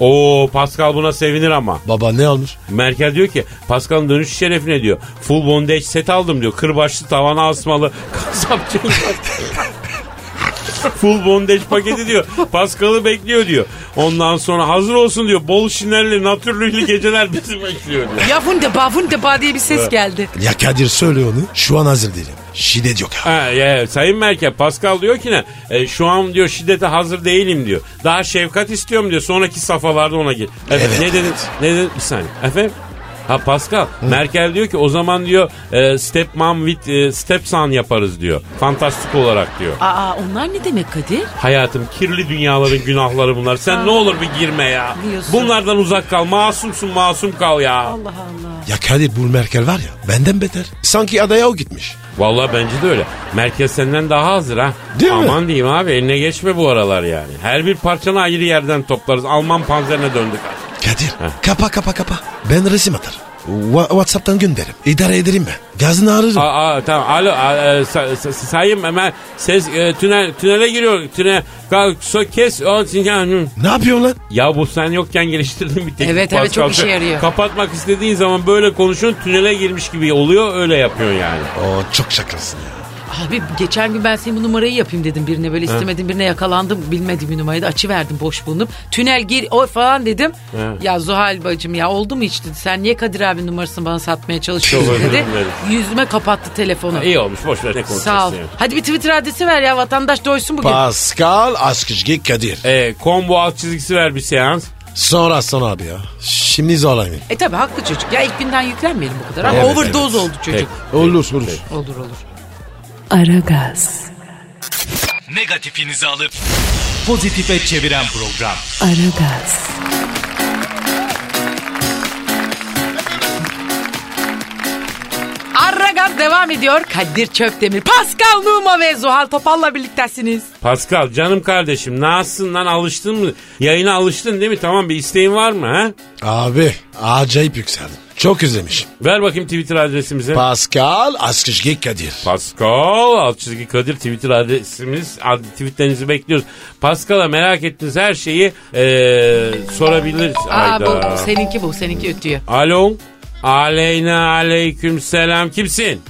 B: Oo Pascal buna sevinir ama.
E: Baba ne almış?
B: Merkel diyor ki Pascal'ın dönüş şerefine diyor. Full bondage set aldım diyor. Kırbaçlı tavana asmalı. Kasapçı Full bondage paketi diyor. Pascal'ı bekliyor diyor. Ondan sonra hazır olsun diyor. Bol şinerli, natürlüklü geceler bizi bekliyor diyor.
C: Ya funde ba funde ba diye bir ses geldi.
E: Ya Kadir söyle onu. Şu an hazır değilim. Şiddet yok abi.
B: Ha, ya, Sayın Merkel Pascal diyor ki ne? E, şu an diyor şiddete hazır değilim diyor. Daha şefkat istiyorum diyor. Sonraki safhalarda ona gir. Evet,
E: Evet.
B: Ne dedin? Ne dedin? Bir saniye. Efendim? Ha Pascal Merkel diyor ki o zaman diyor e, step mom with e, step son yaparız diyor. Fantastik olarak diyor.
C: Aa onlar ne demek Kadir?
B: Hayatım kirli dünyaların günahları bunlar. Sen ne olur bir girme ya.
C: Biliyorsun.
B: Bunlardan uzak kal. Masumsun masum kal ya.
C: Allah Allah.
E: Ya Kadir bu Merkel var ya benden beter. Sanki adaya o gitmiş.
B: Vallahi bence de öyle. Merkez senden daha hazır ha.
E: Değil mi?
B: Aman diyeyim abi eline geçme bu aralar yani. Her bir parçanı ayrı yerden toplarız. Alman panzerine döndük artık.
E: Kadir kapa kapa kapa. Ben resim atarım. Wa- Whatsapp'tan gönderirim. İdare ederim ben. Gazını ararım.
B: Aa, aa, tamam alo aa, e, sa- sa- sayın hemen ses e, tünel tünele giriyor. Tünel Kalk, so, kes. o, sinyal.
E: ne yapıyorsun lan?
B: Ya bu sen yokken geliştirdiğin bir teknik.
C: Evet, evet, çok
B: Pascal.
C: işe yarıyor.
B: Kapatmak istediğin zaman böyle konuşuyorsun tünele girmiş gibi oluyor öyle yapıyorsun yani.
E: Oo, çok şakasın ya.
C: Abi geçen gün ben senin bu numarayı yapayım dedim birine böyle istemedim birine yakalandım bilmediğim bir numarayı da açıverdim boş bulunup. Tünel gir o falan dedim.
B: He.
C: Ya Zuhal bacım ya oldu mu hiç dedi. Sen niye Kadir abi numarasını bana satmaya
B: Çok
C: çalışıyorsun
B: özür
C: dedi.
B: dilerim.
C: Yüzüme kapattı telefonu.
B: İyi olmuş boş ver ne konuşuyorsun.
C: Sağ ol. Hadi bir Twitter adresi ver ya vatandaş doysun bugün.
E: Pascal Askışgi Kadir.
B: E, combo alt çizgisi ver bir seans.
E: Sonra sonra abi ya. Şimdi zorlamayın.
C: E tabi haklı çocuk. Ya ilk günden yüklenmeyelim bu kadar ama
E: Evet,
C: overdose
E: evet.
C: oldu çocuk.
E: Olur olur.
C: Olur olur.
A: Aragaz,
D: Negatifinizi alıp pozitife çeviren program.
A: Aragaz,
C: Arragaz devam ediyor. Kadir Çöptemir, Pascal Numa ve Zuhal Topal'la birliktesiniz.
B: Pascal canım kardeşim nasılsın lan alıştın mı? Yayına alıştın değil mi? Tamam bir isteğin var mı ha?
E: Abi acayip yükseldim. Çok özlemişim.
B: Ver bakayım Twitter adresimizi.
E: Pascal Askışgi Kadir.
B: Pascal alt çizgi Kadir Twitter adresimiz. ad- Tweetlerinizi bekliyoruz. Pascal'a merak ettiğiniz her şeyi eee sorabiliriz.
C: Aa, bu,
B: Hayda.
C: bu seninki bu, seninki ötüyor.
B: Alo. Aleyna aleyküm selam. Kimsin?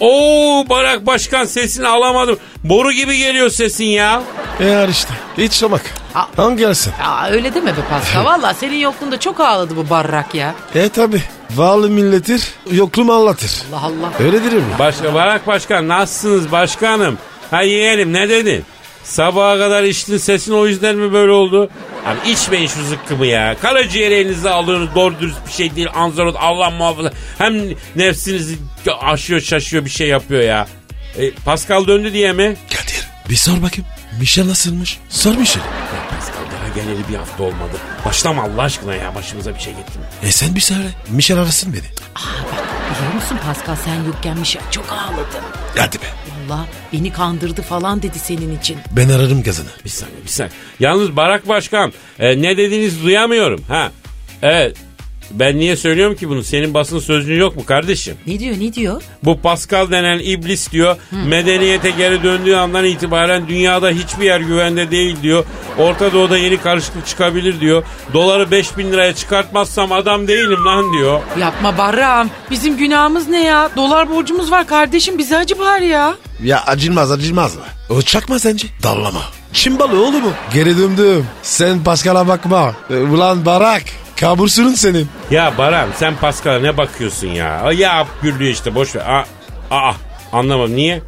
B: Oo Barak Başkan sesini alamadım. Boru gibi geliyor sesin ya.
E: Eğer E işte. Hiç somak.
C: Aa.
E: Hangi gelsin?
C: Aa, öyle deme be Pascal. Valla senin yokluğunda çok ağladı bu barrak ya.
E: E tabi. Varlı milletir, yokluğumu anlatır.
C: Allah Allah.
E: Öyledir mi?
B: Başka Barak Başkan nasılsınız başkanım? Ha yeğenim ne dedin? Sabaha kadar içtin sesin o yüzden mi böyle oldu? Abi içmeyin şu zıkkımı ya. Karaciğeri elinize alıyorsunuz doğru dürüst bir şey değil. Anzorot Allah muhafaza. Hem nefsinizi aşıyor şaşıyor bir şey yapıyor ya. E, Pascal döndü diye mi?
E: Kadir bir sor bakayım. Mişel nasılmış? Sor Mişel.
B: Pascal daha geleli bir hafta olmadı. Başlama Allah aşkına ya başımıza bir şey getirme.
E: E sen bir söyle. Mişel arasın beni.
C: Biliyor musun Pascal sen yokken Mişel çok ağladı.
E: Hadi be.
C: Allah beni kandırdı falan dedi senin için.
E: Ben ararım gazını.
B: Bir saniye bir saniye. Yalnız Barak Başkan e, ne dediğinizi duyamıyorum. Ha. Evet. Ben niye söylüyorum ki bunu? Senin basın sözlüğün yok mu kardeşim?
C: Ne diyor ne diyor?
B: Bu Pascal denen iblis diyor. Medeniyete geri döndüğü andan itibaren dünyada hiçbir yer güvende değil diyor. Orta Doğu'da yeni karışıklık çıkabilir diyor. Doları 5000 liraya çıkartmazsam adam değilim lan diyor.
C: Yapma Barram. Bizim günahımız ne ya? Dolar borcumuz var kardeşim bize acı var ya.
E: Ya acılmaz acılmaz mı? O çakma sence. Dallama. Çin balığı oğlum mu? Geri döndüm. Sen Pascal'a bakma. E, Ulan Barak. Kabursunun senin.
B: Ya Baran sen Pascal'a ne bakıyorsun ya? Ya yap gürlüğü işte boş ver. Aa, aa anlamadım niye?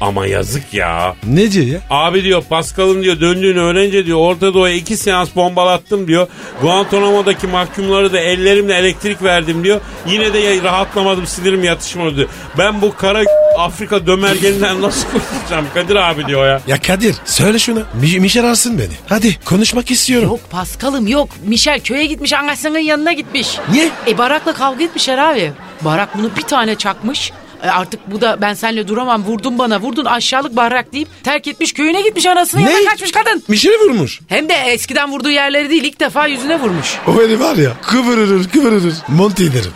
B: Ama yazık ya.
E: Ne diyor ya?
B: Abi diyor Pascal'ın diyor döndüğünü öğrenince diyor Orta Doğu'ya iki seans bombalattım diyor. Guantanamo'daki mahkumları da ellerimle elektrik verdim diyor. Yine de ya- rahatlamadım sinirim yatışmadı diyor. Ben bu kara Afrika dömergeninden nasıl kurtulacağım Kadir abi diyor ya.
E: Ya Kadir söyle şuna. Mi Mişel alsın beni. Hadi konuşmak istiyorum.
C: Yok Paskal'ım yok. Michel köye gitmiş anasının yanına gitmiş.
E: Niye?
C: E Barak'la kavga etmişler abi. Barak bunu bir tane çakmış. E, artık bu da ben seninle duramam vurdun bana vurdun aşağılık Barak deyip terk etmiş köyüne gitmiş anasının
E: Ne?
C: yanına kaçmış kadın.
E: Mişel'i vurmuş.
C: Hem de eskiden vurduğu yerleri değil ilk defa yüzüne vurmuş.
E: O beni var ya kıvırırır kıvırırır. Monte ederim.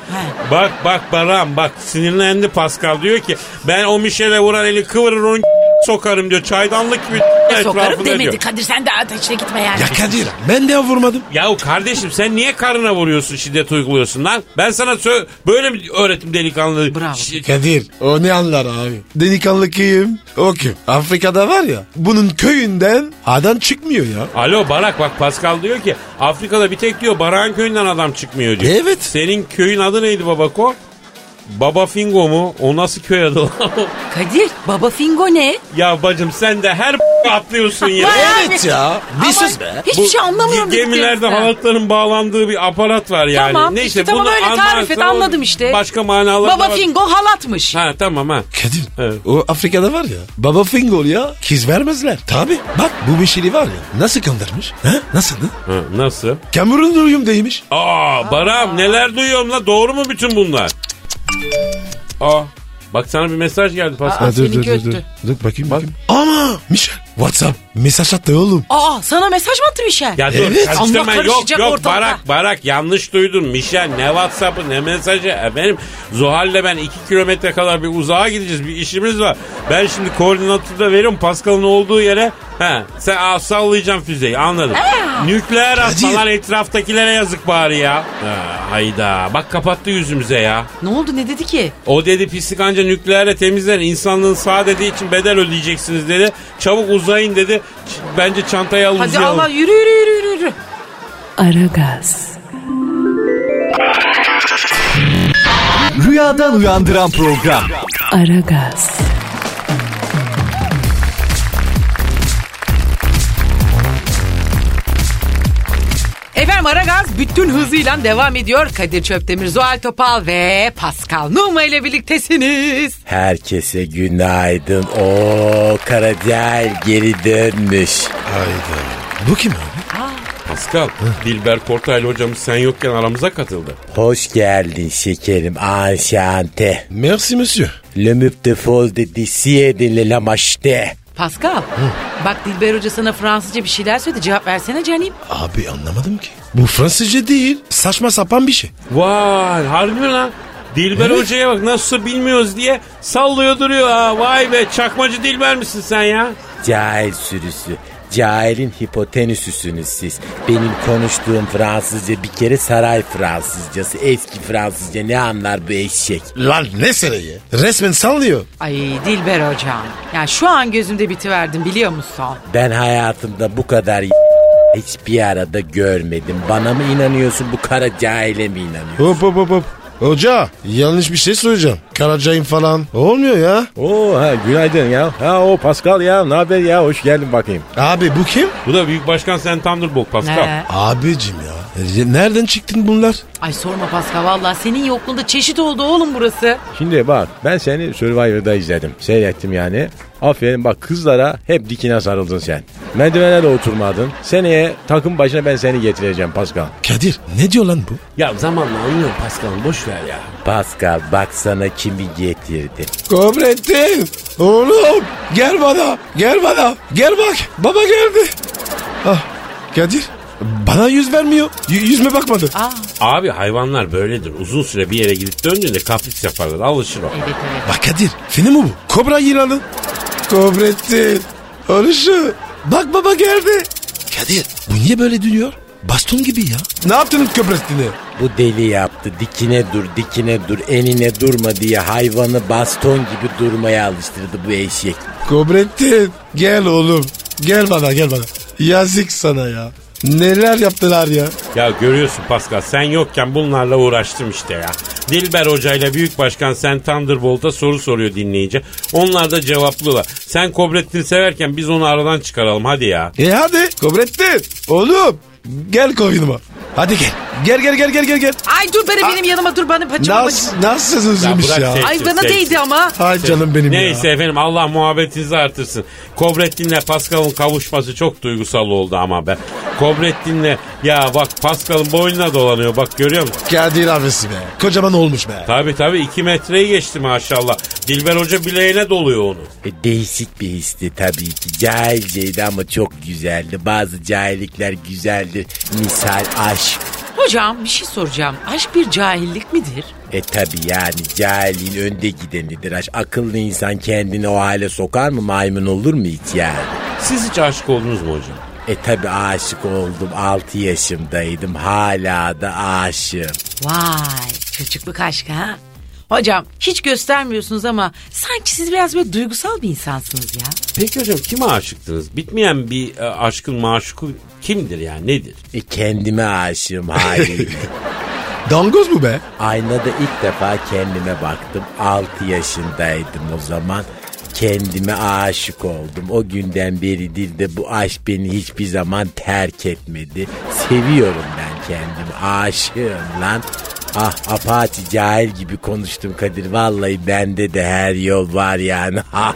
B: Bak bak Baran bak sinirlendi Pascal diyor ki ben o Michel'e vuran eli kıvırır onu sokarım diyor. Çaydanlık gibi
C: E, Sokarım
B: etrafında
C: demedi
B: diyor.
C: Kadir sen de ateşine gitme yani.
E: Ya Kadir ben de vurmadım.
B: Yahu kardeşim sen niye karına vuruyorsun şiddet uyguluyorsun lan? Ben sana sö- böyle bir öğretim delikanlı.
C: Bravo.
B: Şi-
E: Kadir o ne anlar abi? Delikanlı kim? O kim? Afrika'da var ya bunun köyünden adam çıkmıyor ya.
B: Alo Barak bak Pascal diyor ki Afrika'da bir tek diyor Barak'ın köyünden adam çıkmıyor diyor.
E: Evet.
B: Senin köyün adı neydi babako? Baba Fingo mu? O nasıl köy adı lan?
C: Kadir baba Fingo ne?
B: ya bacım sen de her atlıyorsun ya.
E: Evet ya. Bir sus be.
C: Hiçbir şey anlamıyorum.
B: Gemilerde
C: dediklerinden.
B: halatların bağlandığı bir aparat var yani.
C: Tamam, işte tamam,
B: bunu
C: öyle tarif
B: anlarsan
C: et,
B: o
C: anladım işte.
B: Başka manalar da
C: Baba
B: var.
C: Fingo halatmış.
B: Ha tamam ha.
E: Kadir
B: Evet.
E: o Afrika'da var ya baba fingol ya kiz vermezler. Tabi bak bu Mişel'i var ya nasıl kandırmış? Ha? Nasıldı?
B: Ha, nasıl?
E: Kamerun uyum değmiş.
B: Aa Baram neler duyuyorum la doğru mu bütün bunlar? Aa bak sana bir mesaj geldi Pascal.
C: Aa, seninki öttü.
E: Dur bakayım bakayım. Ama Mişel WhatsApp mesaj attı oğlum.
C: Aa sana mesaj mı attı Michel?
B: Ya dur
E: Evet.
B: karıştırma
C: Allah
B: yok
C: karışacak
B: yok
C: ortalığa.
B: Barak Barak yanlış duydun Mişel ne Whatsapp'ı ne mesajı efendim Zuhal'le ben iki kilometre kadar bir uzağa gideceğiz bir işimiz var. Ben şimdi koordinatı da veriyorum Pascal'ın olduğu yere ha sen aa, sallayacaksın füzeyi anladım. Nükleer atmalar etraftakilere yazık bari ya. Ha, hayda bak kapattı yüzümüze ya.
C: Ne oldu ne dedi ki?
B: O dedi pislik anca nükleerle temizler. İnsanlığın sağ dediği için bedel ödeyeceksiniz dedi. Çabuk uzayın dedi. Ç- Bence çantayı alın
C: Hadi
B: uzayalım.
C: Allah yürü yürü yürü yürü.
A: Aragaz,
F: Rüyadan uyandıran program.
A: Aragaz,
C: Efendim Aragaz bütün hızıyla devam ediyor. Kadir Çöptemir, Zuhal Topal ve Pascal Numa ile birliktesiniz.
G: Herkese günaydın. O Karadel geri dönmüş.
E: Hayda. Bu kim abi?
B: Pascal, Dilber Kortaylı hocamız sen yokken aramıza katıldı.
G: Hoş geldin şekerim. Anşante.
E: Merci monsieur.
G: Le müp de fol de disiye de le la maşte.
C: Pascal, bak Dilber Hoca sana Fransızca bir şeyler söyledi. Cevap versene canım.
E: Abi anlamadım ki. Bu Fransızca değil. Saçma sapan bir şey.
B: Vay harbi mi lan? Dilber
E: Evet.
B: hocaya bak nasıl bilmiyoruz diye sallıyor duruyor ha. Vay be çakmacı Dilber misin sen ya?
G: Cahil sürüsü. Cahilin hipotenüsüsünüz siz. Benim konuştuğum Fransızca bir kere saray Fransızcası. Eski Fransızca ne anlar bu eşek?
E: Lan ne sereyi? Resmen sallıyor.
C: Ay Dilber Hocam. Ya şu an gözümde bitiverdim biliyor musun?
G: Ben hayatımda bu kadar y- hiçbir arada görmedim. Bana mı inanıyorsun bu kara cahile mi inanıyorsun?
E: Hop hop hop hop. Hoca yanlış bir şey söyleyeceğim. Karacayım falan. Olmuyor ya.
G: Oo ha günaydın ya. Ha o Pascal ya ne haber ya hoş geldin bakayım.
E: Abi bu kim?
B: Bu da Büyük Başkan Sen Thunderbolt Pascal.
C: He.
E: Abicim ya. E, Nereden çıktın bunlar?
C: Ay sorma Pascal valla senin yokluğunda çeşit oldu oğlum burası.
H: Şimdi bak ben seni Survivor'da izledim. Seyrettim yani. Aferin bak kızlara hep dikine sarıldın sen. Merdivene de oturmadın. Seneye takım başına ben seni getireceğim Pascal.
E: Kadir ne diyor lan bu?
B: Ya zamanla anlıyorum Pascal boş ver ya.
G: Pascal baksana kimi getirdim.
E: Kobrettin. Oğlum gel bana. Gel bana. Gel bak. Baba geldi. Ah Kadir. Bana yüz vermiyor. Y- yüzme bakmadı.
B: Abi hayvanlar böyledir. Uzun süre bir yere gidip döndüğünde kapris yaparlar. Alışır o.
C: Evet evet.
E: Bak Kadir. Film mi bu? Kobra yılanı. Kobrettin. Oluşu. Bak baba geldi. Kadir. Bu niye böyle dönüyor? Baston gibi ya. Ne yaptın Kobrettin'e?
G: Bu deli yaptı dikine dur dikine dur enine durma diye hayvanı baston gibi durmaya alıştırdı bu eşek.
E: Kobrettin. Gel oğlum. Gel bana gel bana. Yazık sana ya. Neler yaptılar ya.
B: Ya görüyorsun Pascal sen yokken bunlarla uğraştım işte ya. Dilber Hoca ile Büyük Başkan Sen Thunderbolt'a soru soruyor dinleyici. Onlar da cevaplıyorlar. Sen Kobrettin'i severken biz onu aradan çıkaralım hadi ya.
E: E hadi Kobrettin. Oğlum gel koyunuma. Hadi gel. Gel gel gel gel gel gel.
C: Ay dur bana benim yanıma dur bana paçama paçama.
E: Nasıl, nasılsınızmış
B: Ya
E: ya?
B: bırak
C: Ay bana
B: Seksi.
C: değdi ama.
E: Ay canım benim ya.
B: Neyse efendim Allah muhabbetinizi artırsın. Kobrettin'le Pascal'ın kavuşması çok duygusal oldu ama be. Kobrettin'le ya bak Pascal'ın boynuna dolanıyor bak görüyor musun?
E: Kadir abisi be. Kocaman olmuş be.
B: Tabi tabi 2 metreyi geçti maşallah. Dilber Hoca bileğine doluyor onu.
G: E, değişik bir histi tabii ki. Cahilceydi ama çok güzeldi. Bazı cahillikler güzeldir. Misal aşk.
C: Hocam bir şey soracağım. Aşk bir cahillik midir?
G: E tabi yani cahilliğin önde gidenidir aşk. Akıllı insan kendini o hale sokar mı maymun olur mu hiç yani?
B: Siz hiç aşık oldunuz mu hocam?
G: E tabi aşık oldum 6 yaşımdaydım hala da aşığım.
C: Vay çocukluk aşkı ha. Hocam hiç göstermiyorsunuz ama sanki siz biraz böyle duygusal bir insansınız ya.
B: Peki hocam kime aşıktınız? Bitmeyen bir e, aşkın maşuku kimdir yani nedir?
G: E kendime aşığım haliyle.
E: Dangoz mu be?
G: Aynada ilk defa kendime baktım 6 yaşındaydım o zaman. Kendime aşık oldum. O günden beridir de bu aşk beni hiçbir zaman terk etmedi. Seviyorum ben kendimi. Aşığım lan. Ah apaçi cahil gibi konuştum Kadir. Vallahi bende de her yol var yani.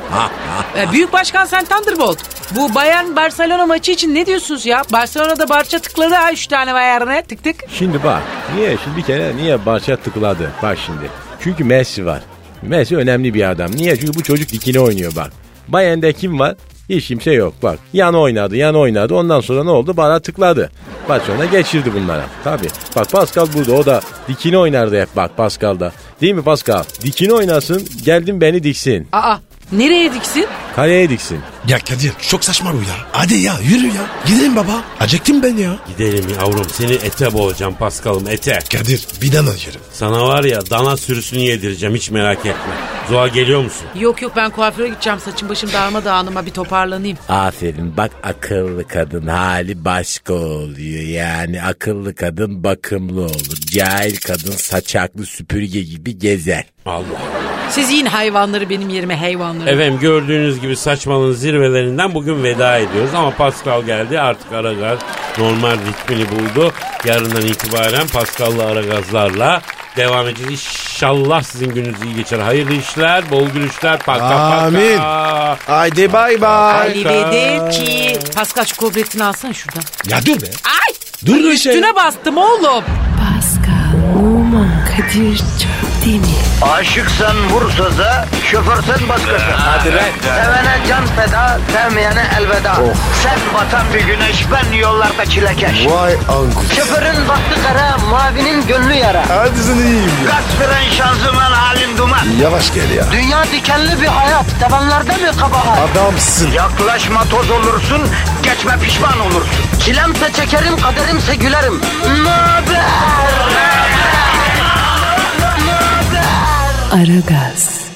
C: Ee, Büyük Başkan Sen Thunderbolt. Bu Bayern Barcelona maçı için ne diyorsunuz ya? Barcelona'da Barça tıkladı ha 3 tane Bayern'e tık tık.
H: Şimdi bak. Niye? Şimdi bir kere niye Barça tıkladı? Bak şimdi. Çünkü Messi var. Messi önemli bir adam. Niye? Çünkü bu çocuk dikine oynuyor bak. Bayern'de kim var? Hiç kimse yok bak. Yan oynadı, yan oynadı. Ondan sonra ne oldu? Bara tıkladı. Barcelona geçirdi bunlara. Tabii. Bak Pascal burada. O da dikine oynardı hep bak Pascal'da. Değil mi Pascal? Dikine oynasın. Geldim beni diksin.
C: Aa nereye diksin?
H: Kaleye diksin.
E: Ya Kadir çok saçma bu ya. Hadi ya yürü ya. Gidelim baba. Acıktım ben ya.
B: Gidelim yavrum seni ete boğacağım Pascal'ım ete.
E: Kadir bir dana yerim.
B: Sana var ya dana sürüsünü yedireceğim hiç merak etme. Zuha geliyor musun?
C: Yok yok ben kuaföre gideceğim saçım başım darmadağınıma bir toparlanayım.
G: Aferin bak akıllı kadın hali başka oluyor. Yani akıllı kadın bakımlı olur. Cahil kadın saçaklı süpürge gibi gezer.
B: Allah.
C: Siz yiyin hayvanları benim yerime hayvanları.
B: Efendim gördüğünüz gibi saçmalığın zirvelerinden bugün veda ediyoruz. Ama Pascal geldi artık Aragaz normal ritmini buldu. Yarından itibaren Pascal'la Aragaz'larla devam edeceğiz. İnşallah sizin gününüz iyi geçer. Hayırlı işler, bol gülüşler. Paka
E: Amin.
B: paka.
E: Haydi bay bay.
C: Arrivederci. Pascal şu kobretini alsana şuradan.
E: Ya dur be.
C: Ay!
E: Dur dur şey.
C: Üstüne bastım oğlum.
A: Pascal, Oman, Kadir çok değil mi?
I: Aşıksan vursa da, şoförsen başkasın. Hadi Sevene can feda, sevmeyene elveda.
E: Oh.
I: Sen batan bir güneş, ben yollarda çilekeş.
E: Vay anku.
I: Şoförün baktı kara, mavinin gönlü yara.
E: Hadi sen iyiyim ya.
I: Kasperen şanzıman halin duman.
E: Yavaş gel ya.
I: Dünya dikenli bir hayat, sevenlerde mi kabahar?
E: Adamsın.
I: Yaklaşma toz olursun, geçme pişman olursun. Çilemse çekerim, kaderimse gülerim. Möber!
A: Aragaz.